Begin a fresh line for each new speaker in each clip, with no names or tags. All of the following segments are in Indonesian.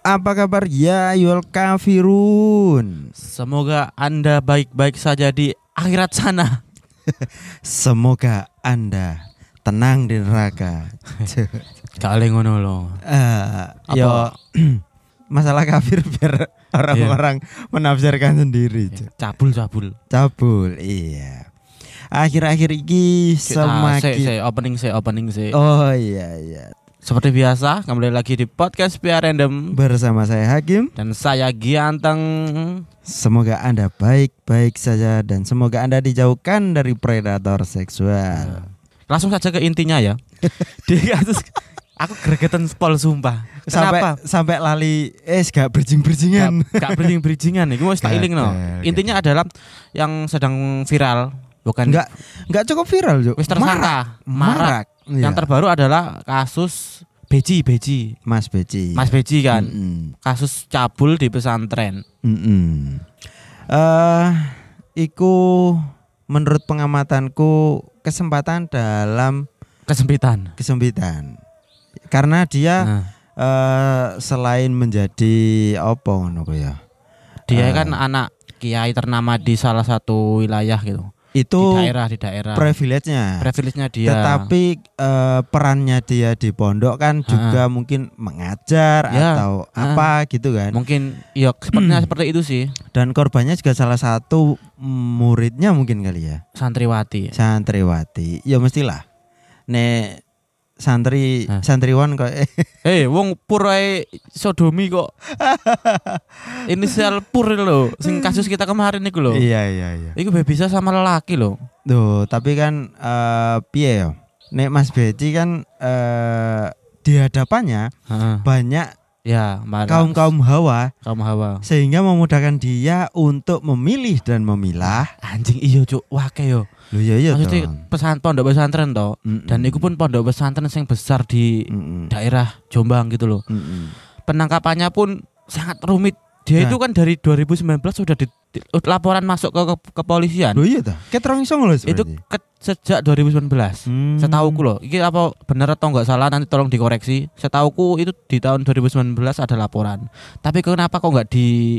Apa kabar ya Yul Kafirun?
Semoga Anda baik-baik saja di akhirat sana.
Semoga Anda tenang di neraka.
Kali ngono lo.
Eh,
Apa?
yo masalah kafir biar orang-orang
Iya.
menafsirkan sendiri. cu.
Cabul cabul.
Cabul, iya. Akhir-akhir ini
Semakin.
semakin
opening ah, saya opening saya.
Oh iya iya.
Seperti biasa kembali lagi di podcast PR Random
Bersama saya Hakim.
dan saya Gianteng.
Semoga Anda baik-baik saja dan semoga Anda dijauhkan dari predator
Iya.
seksual.
Langsung saja ke intinya ya. di kasus aku gregetan spol sumpah.
Sampai
Kenapa?
sampai lali eh gak berjing-berjingan.
Gak, gak bridging-bridgingan Ini mau tak iling no.
Gagal,
Intinya adalah yang sedang viral bukan
Enggak enggak cukup viral, Cuk.
wis tersangka marak.
Marak. Iya.
Yang terbaru adalah kasus Beji Beji.
Mas Beci.
Mas Beji kan
Mm-mm.
kasus cabul di pesantren.
Mm-mm. Eh, iku menurut pengamatanku kesempatan dalam
Kesempitan.
kesempitan. Karena dia
Nah,
eh, selain menjadi opo ngono ku ya.
dia
Ah.
kan anak kiai ternama di salah satu wilayah gitu.
Itu
di daerah di daerah. iya.
privilege-nya.
Privilege-nya dia.
Tetapi eh, perannya dia di pondok kan juga mungkin mengajar
Ya.
atau
Ah.
apa gitu kan.
mungkin ya
Hmm.
sepertinya seperti itu sih
Dan korbannya juga salah satu muridnya mungkin kali ya.
santriwati.
Santriwati. Ya mestilah. Nek santri
Ah.
santriwan kok eh,
Eh, wong pur ae sodomi kok. Inisial pur lho, sing kasus kita kemarin iku lho.
Iya iya iya.
Iku bisa sama lelaki lho.
Duh, tapi kan eh piye yo? Nek Mas Beci kan eh di hadapannya
Heeh.
banyak
Ya, marah.
kaum-kaum hawa
kaum hawa.
sehingga memudahkan dia untuk memilih dan memilah.
Anjing iya cuk, wake yo.
Loh ya iya
Maksudnya
dong.
pesan pondok pesantren toh.
Mm-mm.
Dan itu pun pondok pesantren yang besar di
Mm-mm.
daerah Jombang gitu loh.
Mm-mm.
Penangkapannya pun sangat rumit. Dia
Nah.
itu kan dari 2019 sudah di, di- laporan masuk ke, ke- kepolisian.
Loh iya toh. Ket rong iso ngono
itu ke- sejak 2019.
Hmm.
Setauku loh, ini apa benar atau nggak salah nanti tolong dikoreksi. Setauku itu di tahun 2019 ada laporan. Tapi kenapa kok nggak di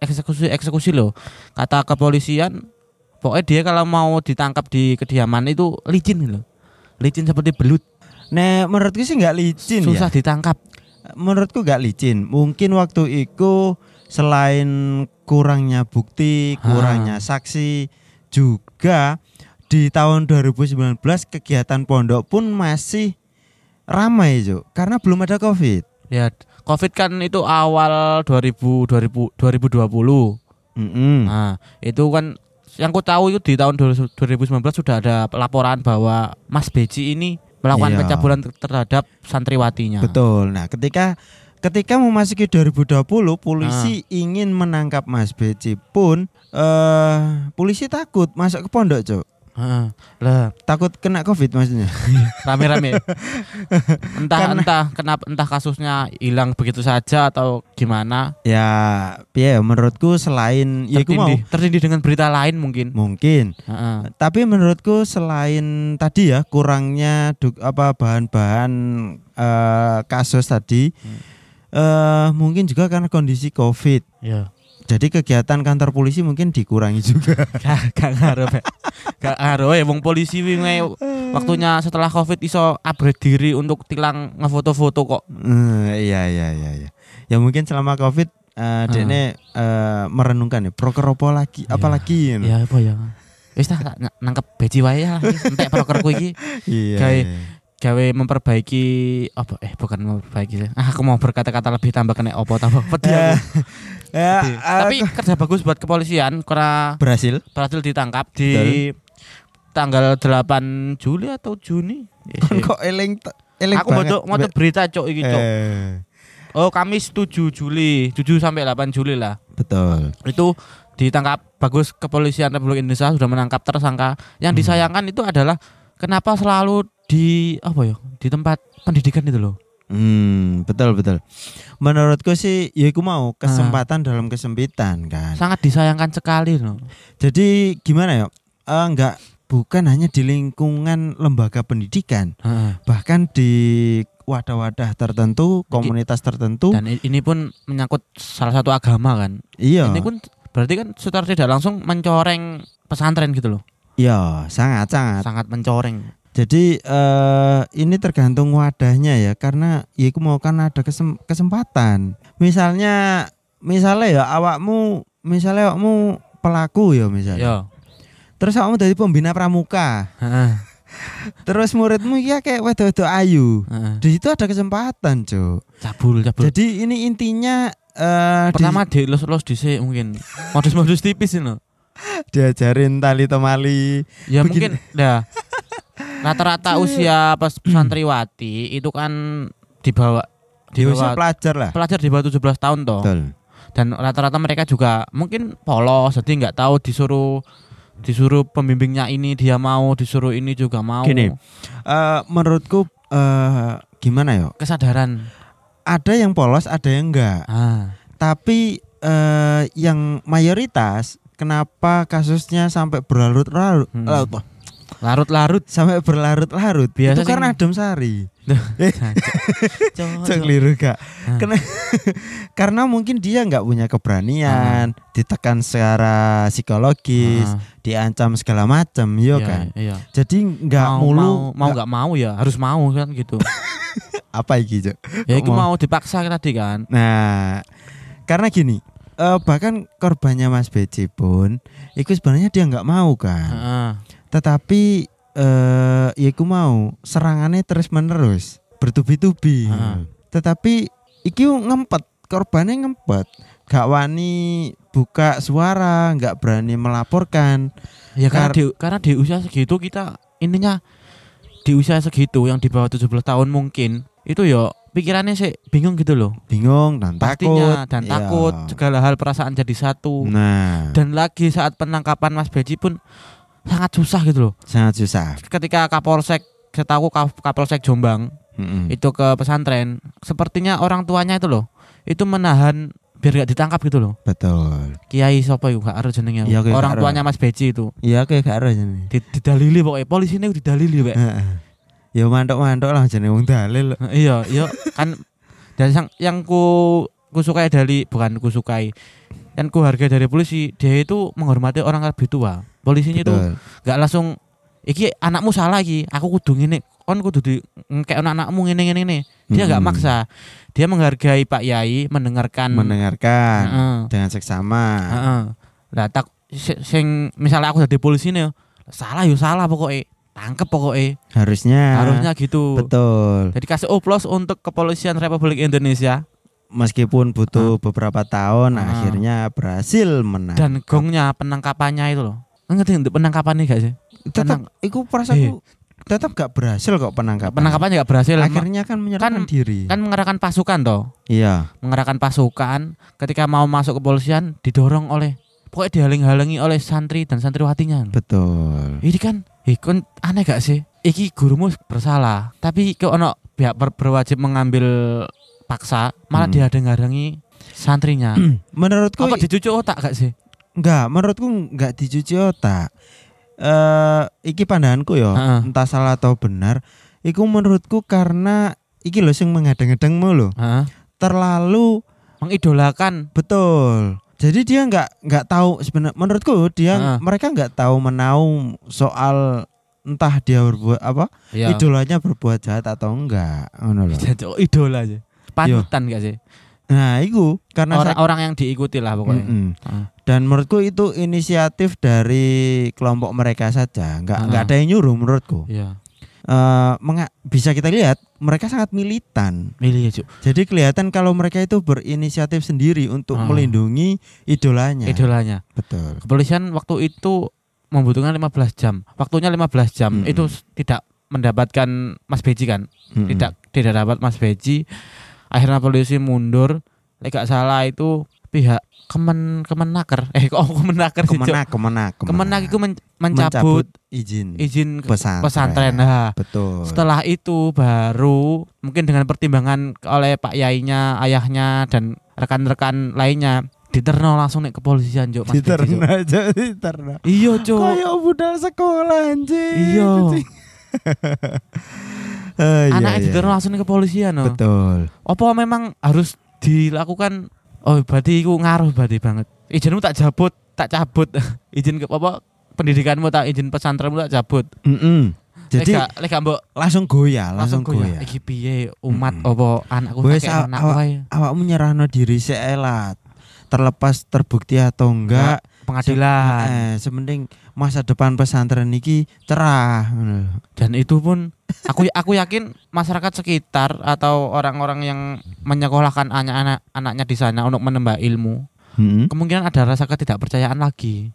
eksekusi eksekusi loh? Kata kepolisian, pokoknya dia kalau mau ditangkap di kediaman itu licin gitu loh. Licin seperti belut,
Hmm. Nek menurutku sih nggak licin
susah
ya.
ditangkap.
Menurutku nggak licin. Mungkin waktu itu selain kurangnya bukti,
Ah.
kurangnya saksi juga di tahun 2019 kegiatan pondok pun masih ramai Cuk. karena belum ada Covid.
Ya, Covid kan itu awal 2000 2000 2020.
Mm-mm.
Nah, itu kan yang ku tahu itu di tahun 2019 sudah ada laporan bahwa Mas Beji ini melakukan
Iya.
pencabulan ter- terhadap santriwatinya.
Betul. Nah, ketika ketika memasuki 2020, polisi ingin menangkap Mas Beci pun eh polisi takut masuk ke pondok, Cuk.
Heeh. Lah,
Takut kena Covid maksudnya.
rame-rame. entah
Karena-
entah kenapa entah kasusnya hilang begitu saja atau gimana.
ya, piye menurutku selain ya iku mau
Tertindih, tertindih dengan berita lain mungkin.
mungkin.
Heeh.
Tapi menurutku selain tadi ya kurangnya duk- apa bahan-bahan eh, kasus tadi
Hmm.
eh mungkin juga karena kondisi Covid.
Iya.
Jadi kegiatan kantor polisi mungkin dikurangi juga.
Gak gak ngaruh. Pak. Gak ngaruh ya wong polisi wingi waktunya setelah Covid iso upgrade diri untuk tilang ngefoto-foto kok.
Eh, iya iya iya iya. Ya mungkin selama Covid eh dekne, eh, merenungkan ya proker apa lagi
Ah. Iya.
apalagi ya.
Ya apa ya. Wis tak tak nangkep beji wae ya. Entek prokerku iki
Iya.
Kayak-
iya.
gawe memperbaiki apa eh bukan memperbaiki sih. Ah, aku mau berkata-kata lebih tambah kena opo tambah pedih aku.
Eh, ya,
Pedih.
eh,
Tapi kerja bagus buat kepolisian karena
berhasil.
berhasil ditangkap di tanggal 8 Juli atau Juni. Eh,
Kon
eh.
kok eling eling
Aku
banget.
mau mau berita cok iki cok.
Eh,
Oh, Kamis 7 Juli, 7 sampai 8 Juli lah.
betul.
itu ditangkap bagus kepolisian Republik Indonesia sudah menangkap tersangka yang
Hmm.
disayangkan itu adalah kenapa selalu di apa ya di tempat pendidikan itu loh
Hmm, betul betul. Menurutku sih ya iku mau
Ah.
kesempatan dalam kesempitan kan.
sangat disayangkan sekali loh
Jadi gimana ya? Eh, enggak bukan hanya di lingkungan lembaga pendidikan, bahkan di wadah-wadah tertentu, komunitas tertentu.
Dan i- ini pun menyangkut salah satu agama kan.
Iya.
Ini pun berarti kan secara tidak langsung mencoreng pesantren gitu loh.
Iya, sangat-sangat.
Sangat mencoreng.
Jadi eh ini tergantung wadahnya ya karena ya iku mau kan ada kesem- kesempatan. Misalnya misalnya ya awakmu misalnya awakmu pelaku ya misalnya.
Yo.
Terus awakmu dari pembina pramuka.
Heeh.
Terus muridmu ya kayak wedo-wedo ayu.
heeh.
Di situ ada kesempatan, Cuk.
Cabul, cabul.
Jadi ini intinya eh di-
Pertama di los los dhisik mungkin. Modus-modus tipis ini loh.
diajarin tali temali.
Ya
Begini. Iya.
mungkin dah. Rata-rata usia pes- santriwati itu kan di bawah di
Di usia
bawah-
pelajar lah.
pelajar di bawah 17 tahun toh.
Betul.
Dan rata-rata mereka juga mungkin polos jadi nggak tahu disuruh disuruh pembimbingnya ini dia mau, disuruh ini juga mau.
Gini. Eh, menurutku eh gimana ya?
Kesadaran.
Ada yang polos, ada yang enggak.
Ah,
Tapi eh, yang mayoritas kenapa kasusnya sampai berlarut-larut
Hmm.
eh, apa?
larut-larut.
sampai berlarut-larut
Biasa
itu
sing-
karena adem sari.
Cok,
Cok, keliru Kak.
Oh, iya. Ah.
Kena- karena mungkin dia nggak punya keberanian, ditekan secara psikologis,
Ah,
diancam segala macam, yo
iya,
kan.
Iya.
Jadi nggak
mau,
mulu
mau mau nggak mau ya harus mau kan gitu.
apa iki, Cok?
ya itu
Mau.
mau dipaksa tadi kan.
Nah, karena gini, eh, bahkan korbannya Mas Beci pun itu sebenarnya dia nggak mau kan.
Heeh.
tetapi eh ya iku mau serangannya terus menerus bertubi-tubi
Ah.
tetapi iki ngempet korbannya ngempet gak wani buka suara nggak berani melaporkan
Ya karena
Kar-
di, karena di usia segitu kita ininya di usia segitu yang di bawah 17 tahun mungkin itu ya pikirannya sih bingung gitu loh.
bingung dan
Pastinya
takut
dan
Iya.
takut segala hal perasaan jadi satu.
nah
Dan lagi saat penangkapan Mas Beji pun sangat susah gitu loh.
sangat susah
Ketika Kapolsek setahu Kap- Kapolsek Jombang
Mm-mm.
itu ke pesantren, sepertinya orang tuanya itu loh itu menahan biar gak ditangkap gitu loh.
betul
Kiai sapa iku gak ero jenenge.
Iya, aku gak
orang
ero.
tuanya Mas Beji itu.
iya kayak gak ada jadi
Di- Didalili pokoknya polisi ini didalili, Pak.
ya mantok-mantok lah jadi wong dalil
iya iya kan dan yang yang ku ku sukai dari bukan ku sukai dan ku hargai dari polisi dia itu menghormati orang lebih tua polisinya itu
Betul.
nggak langsung iki anakmu salah iki aku kudu ngene kon kudu di kayak anakmu ngene ngene ngene dia
Mm-mm.
nggak maksa dia menghargai pak yai mendengarkan
mendengarkan
Heeh,
dengan seksama
heeh. Lah, tak si- sing misalnya aku jadi polisi nih salah yo salah pokoknya tangkep pokoknya
harusnya
harusnya gitu
Nah. betul
jadi kasih oplos untuk kepolisian Republik Indonesia
meskipun butuh beberapa tahun
Ah.
akhirnya berhasil menang.
Nah. dan gongnya penangkapannya itu loh ngerti untuk penangkapannya gak sih
tetap iku
iya.
perasaanku tetap gak berhasil kok penangkapan.
penangkapannya gak berhasil Ma-
akhirnya kan menyerahkan
Kan-
diri.
kan mengerahkan pasukan toh
iya,
mengerahkan pasukan ketika mau masuk kepolisian didorong oleh pokoknya dihalang-halangi oleh santri dan santriwatinya
betul.
ini kan eh, kon aneh gak sih iki gurumu bersalah tapi kok ono pihak ber- berwajib mengambil paksa malah
Hmm.
dihadang-hadangi santrinya
Menurutku
apa dicuci otak gak sih
enggak, menurutku enggak dicuci otak. Eh iki pandanganku ya,
Heeh.
entah salah atau benar. Iku menurutku karena iki lho sing mengadeng-adengmu lho.
Heeh.
Terlalu
mengidolakan
Betul. Jadi dia nggak nggak tahu sebenarnya menurutku dia
Heeh.
mereka nggak tahu menau soal entah dia berbuat apa
Ya.
idolanya berbuat jahat atau enggak ngono lho.
Jadi, oh, idola aja panutan gak sih
Nah, itu karena
orang,
saya-
orang yang diikuti lah pokoknya
Mm-mm.
Ah.
dan menurutku itu inisiatif dari kelompok mereka saja, nggak
Heeh.
nggak ada yang nyuruh menurutku.
Iya.
Eh, menga- bisa kita lihat mereka sangat militan.
milih ya, aja
Jadi kelihatan kalau mereka itu berinisiatif sendiri untuk
Ah.
melindungi idolanya.
idolanya
Betul.
Ya. kepolisian waktu itu membutuhkan 15 jam waktunya 15 jam
Mm-mm.
itu s- tidak mendapatkan Mas Beji kan
Mm-mm.
tidak tidak dapat Mas Beji akhirnya polisi mundur Lek gak salah itu pihak kemen kemenaker eh kok kemenaker sih Cok?
kemenak kemenak
kemenak itu men- mencabut,
izin
izin ke-
pesantren,
pesantren nah
betul
Setelah itu baru mungkin dengan pertimbangan oleh Pak Yainya, ayahnya dan rekan-rekan lainnya diterno langsung nih kepolisian Jok, Mas Beji, Jok.
diterna aja diterna ya?
Iya, Cuk.
Iya, kayak budal sekolah anjing
Iya.
Eh, iya,
anaknya
iya.
diteror langsung ke polisian no.
Betul.
Apa memang harus dilakukan oh berarti iku ngaruh berarti banget. Izinmu tak jabut, tak cabut. Izin ke apa pendidikanmu tak izin pesantrenmu tak cabut.
Mm-mm. Jadi
Lek gak- lek gak mbok
langsung goyah, langsung, goyah.
Iki piye umat apa anakku
Wes,
kakek
aw-
anak
awak-
wae.
Awakmu nyerahno diri seelat. Terlepas terbukti atau enggak,
Pengadilan.
eh, semending masa depan pesantren iki cerah. ngono lho.
Dan itu pun aku aku yakin masyarakat sekitar atau orang-orang yang menyekolahkan anak-anak anaknya di sana untuk menembak ilmu,
Mm-mm.
kemungkinan ada rasa ketidakpercayaan lagi.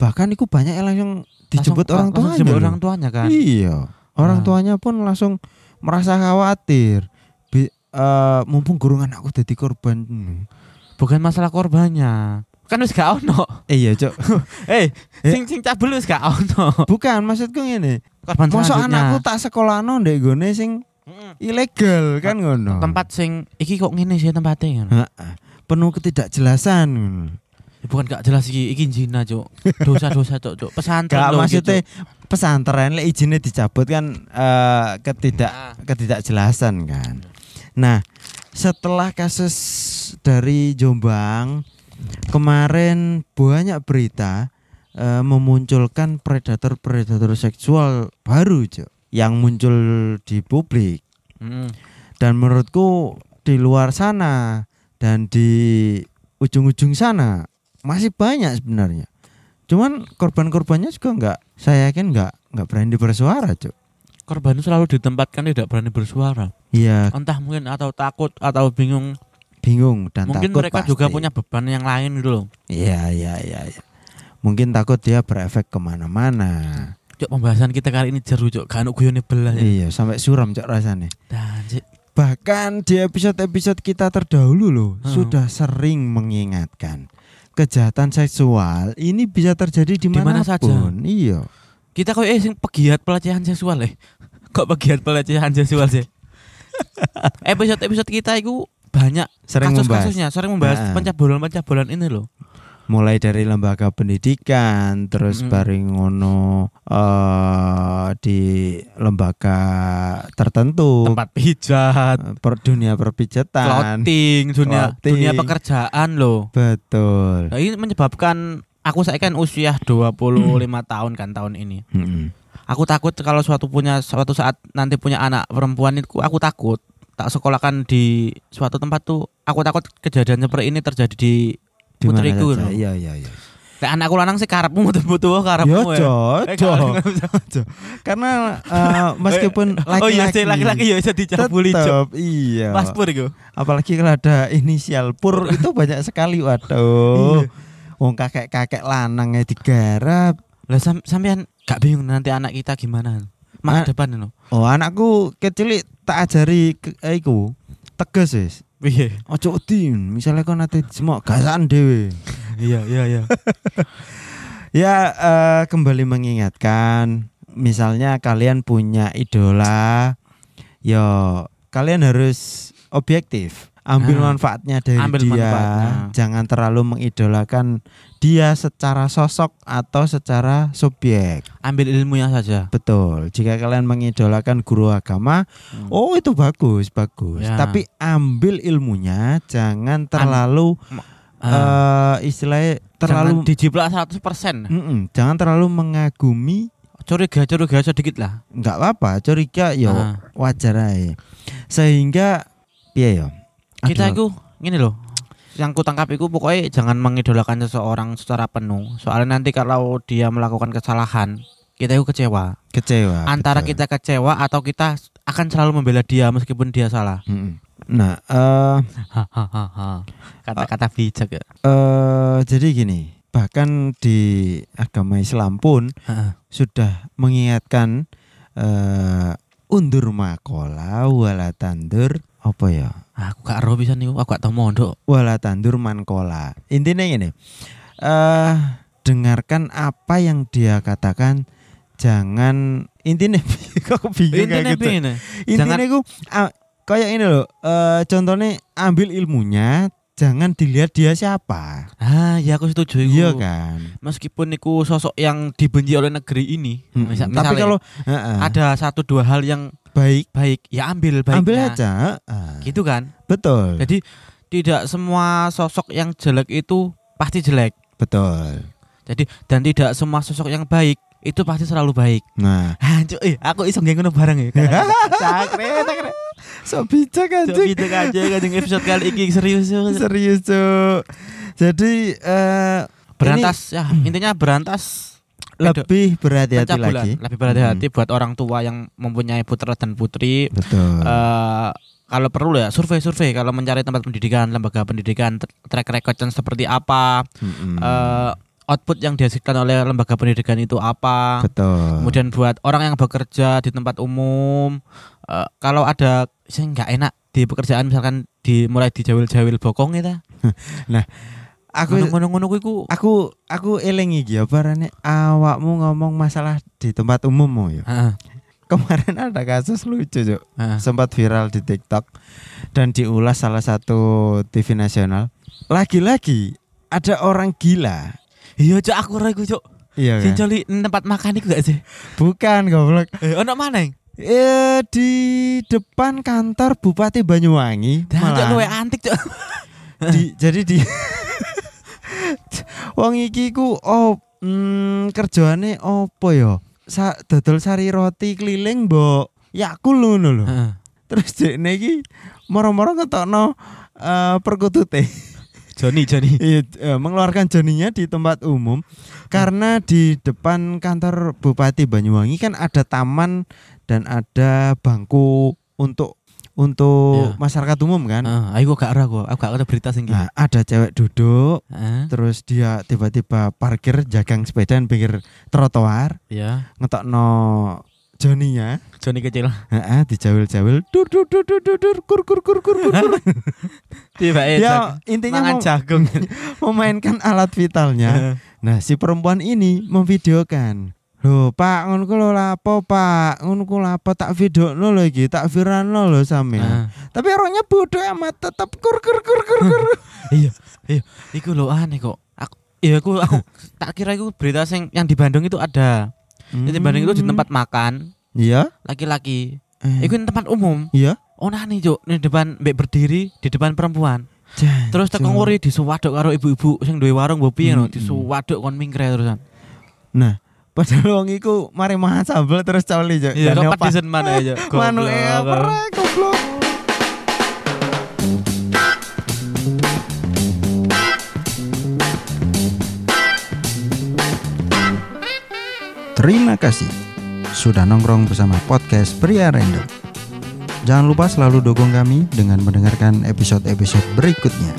Bahkan iku banyak yang langsung dijemput
Langsung-
orang
langsung
tuanya.
dijemput
lho.
orang tuanya kan.
Iya. Orang
Nah.
tuanya pun langsung merasa khawatir. Bi- eh, mumpung gurungan aku jadi korban. Hmm.
Bukan masalah korbannya. Kan wis gak ono.
Eh, Iya, Cok. Eh.
Eh, sing sing cabul wis gak ono.
Bukan maksudku ngene.
Korban
Mosok
selanjutnya.
anakku tak sekolahno ndek gone sing
Mm-mm.
ilegal kan ngono.
tempat sing iki kok ngene sih tempatnya kan? ngono.
Heeh. penuh ketidakjelasan. ngono.
Ya bukan gak jelas iki iki zina, Cuk. Dosa-dosa, Cuk, Cuk. Pesantren
Gak
lho,
maksudnya
gitu.
pesantren lek izinnya dicabut kan eh, ketidak
Ah.
ketidakjelasan kan. Nah, setelah kasus dari Jombang kemarin banyak berita eh, memunculkan predator-predator seksual baru, Cuk, yang muncul di publik
Mm.
dan menurutku di luar sana dan di ujung-ujung sana masih banyak sebenarnya cuman korban-korbannya juga nggak saya yakin nggak nggak berani bersuara cuk
Korban itu selalu ditempatkan tidak berani bersuara.
iya
Entah mungkin atau takut atau bingung.
bingung dan
mungkin
takut
mereka
pasti.
juga punya beban yang lain gitu loh.
iya iya iya iya. mungkin takut dia berefek kemana-mana
Cuk, pembahasan kita kali ini jeru, Cuk. Kan guyone belas. ya.
iya sampai suram cuk rasanya
Dan Cik,
Bahkan di episode-episode kita terdahulu loh
Hmm.
sudah sering mengingatkan kejahatan seksual ini bisa terjadi di mana
Dimana saja.
pun. Iya.
kita kok eh sing pegiat pelecehan seksual eh kok pegiat pelecehan seksual sih episode episode kita itu banyak
Sering membahas
kasus-kasusnya sering membahas
Nah.
pencabulan-pencabulan ini loh
mulai dari lembaga pendidikan terus
Mm-mm.
bareng ngono eh, di lembaga tertentu
tempat pijat
eh, per dunia perpijatan.
clothing dunia
Clothing.
dunia pekerjaan loh
Betul.
nah, ini menyebabkan aku saya kan usia 25 tahun kan tahun ini
Mm-mm.
aku takut kalau suatu punya suatu saat nanti punya anak perempuan itu aku takut tak sekolahkan di suatu tempat tuh aku takut kejadian seperti ini terjadi di
Di mana
Putriku
saja.
loh.
Iya iya iya.
Lek anakku lanang sih karepmu butuh-butuh
Yo,
karepmu ya.
Cok,
Eh,
Cok.
kalau-
Karena eh, meskipun
Oh iya sih laki-laki ya bisa dicabuli cok.
Tetep, iya.
Paspor iku.
Apalagi kalau ada inisial pur itu banyak sekali waduh. Wong kakek-kakek lanangnya digarap.
Lah sam- sampean gak bingung nanti anak kita gimana?
Ah.
Masa depan lho.
Oh, anakku kecil tak ajari ke, eh, iku tegas wis.
Piye?
Ojo wedi, misalnya kau nanti semua gasan dewe.
Iya iya iya.
Ya eh, kembali mengingatkan, misalnya kalian punya idola, yo kalian harus objektif, ambil
Nah,
manfaatnya dari
ambil
dia,
manfaatnya.
jangan terlalu mengidolakan dia secara sosok atau secara subjek.
Ambil ilmunya saja.
Betul. Jika kalian mengidolakan guru agama,
Hmm.
oh itu bagus, bagus.
Ya.
Tapi ambil ilmunya, jangan terlalu
Ah,
eh, istilahnya
terlalu
terlalu
dijiplak 100%.
Mm-mm, jangan terlalu mengagumi
Curiga-curiga sedikit lah.
nggak apa-apa curiga ya
Ah.
wajar aja sehingga piye ya
Kita
Aduh,
itu gini loh. Yang ku tangkap itu pokoknya jangan mengidolakan seseorang secara penuh. Soalnya nanti kalau dia melakukan kesalahan, kita itu kecewa.
Ah, kecewa
antara
betul.
kita kecewa atau kita akan selalu membela dia meskipun dia salah.
Mm-mm. nah eh
Hahaha. Kata-kata
Ah.
bijak ya.
eh, jadi gini bahkan di agama Islam pun
Heeh.
sudah mengingatkan eh undur makola wala tandur apa ya
Ah, Aku gak ero pisan niku, aku gak tau mondok.
wala tandur mankola intinya gini eh dengarkan apa yang dia katakan jangan intinya kok bingung gitu.
Intine piye ne?
intinya
Jangan-
aku kayak ini loh eh, contohnya ambil ilmunya jangan dilihat dia siapa.
Ah, ya aku setuju iku.
Iya kan.
Meskipun niku sosok yang dibenci oleh negeri ini.
Mm-mm.
Misa-
Hmm, Tapi
misalnya
kalau heeh,
ada satu dua hal yang
baik,
baik, ya ambil baiknya.
ambil aja. heeh.
Gitu kan?
Betul,
Jadi tidak semua sosok yang jelek itu pasti jelek.
betul.
Jadi dan tidak semua sosok yang baik itu pasti selalu baik.
Nah,
Hancur, eh, aku iso nggae ngono bareng ya. Cakre, cakre.
so bijak
Cuk,
anjing.
gitu aja kanjeng episode kali ini serius. Cuk.
Serius, Cuk. Jadi eh
Berantas ya, intinya berantas Aduh,
Hmm. lebih berhati-hati
pecah bulan.
lagi. Hmm.
Lebih berhati-hati buat orang tua yang mempunyai putra dan putri.
Betul.
Eh, kalau perlu ya survei-survei kalau mencari tempat pendidikan, lembaga pendidikan, tr- track recordnya seperti apa,
Mm-mm.
eh, output yang dihasilkan oleh lembaga pendidikan itu apa.
betul.
Kemudian buat orang yang bekerja di tempat umum, eh, kalau ada saya nggak enak di pekerjaan misalkan dimulai dijawil-jawil bokong itu,
aku
ngono-ngono kuwi ku
aku aku eling iki ya barane awakmu ngomong masalah di tempat umummu ya.
Heeh,
Kemarin ada kasus lucu, Cuk.
heeh.
sempat viral di TikTok dan diulas salah satu TV nasional. Lagi-lagi ada orang gila.
Iya cok aku ora iku cok.
Iya
Sing
kan?
joli tempat makan iku gak sih?
Bukan goblok.
Eh ono maneng.
Eh di depan kantor Bupati Banyuwangi
Dah cok
malahan.
luwe antik cok.
Di- jadi di Wong iki ku oh mm, kerjaane opo ya? Sa dodol sari roti keliling, Mbok. Ya aku ngono lho.
Heeh.
Terus dekne iki moro-moro ngetokno eh perkutute.
Joni Joni.
Iya, eh, mengeluarkan joninya di tempat umum karena di depan kantor Bupati Banyuwangi kan ada taman dan ada bangku untuk untuk
Iya.
masyarakat umum kan.
Heeh, aku gak ora aku, aku gak ada berita sing
Nah,
gitu.
ada cewek duduk,
Heeh.
terus dia tiba-tiba parkir jagang sepeda di pinggir trotoar, Iya.
Ya.
ngetokno joninya,
Joni kecil.
heeh, dijawil-jawil, dur dur dur dur dur dur, kur kur kur kur kur. kur.
Tiba eh.
ya intinya
mangan
mau,
jagung.
memainkan alat vitalnya. Nah, si perempuan ini memvideokan. Loh, Pak, ngono ku lho lapo, Pak? Ngono ku lapo tak videono lho iki, tak viralno lho sampean.
Heeh.
Tapi orangnya bodoh amat tetep kur kur kur kur kur.
Iya, iya. Iku lho aneh kok. Aku Iya aku, aku tak kira itu berita sing yang di Bandung itu ada. Jadi di Bandung Ya, itu di tempat makan
Iya.
laki-laki.
Eh,
Iku ini tempat umum.
iya.
Onani cuk, di depan mbek berdiri di depan perempuan.
Jan,
Terus
Cuk.
tekan nguri disuwaduk karo ibu-ibu sing duwe warung bopi ngono,
Mm-mm.
disuwaduk kon mingkre terusan.
Nah, padahal wong iku mari mahan sambel terus coli, Cuk.
Iya,
Dan
kok
nyopat.
pedisen mana aja. eh,
Manuke
Goblok.
perek e goblok. Terima kasih sudah nongkrong bersama podcast Pria Random. Jangan lupa selalu dukung kami dengan mendengarkan episode-episode berikutnya.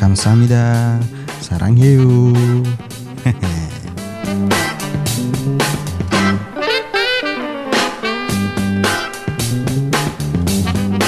Kamsahamnida, sarang hiu.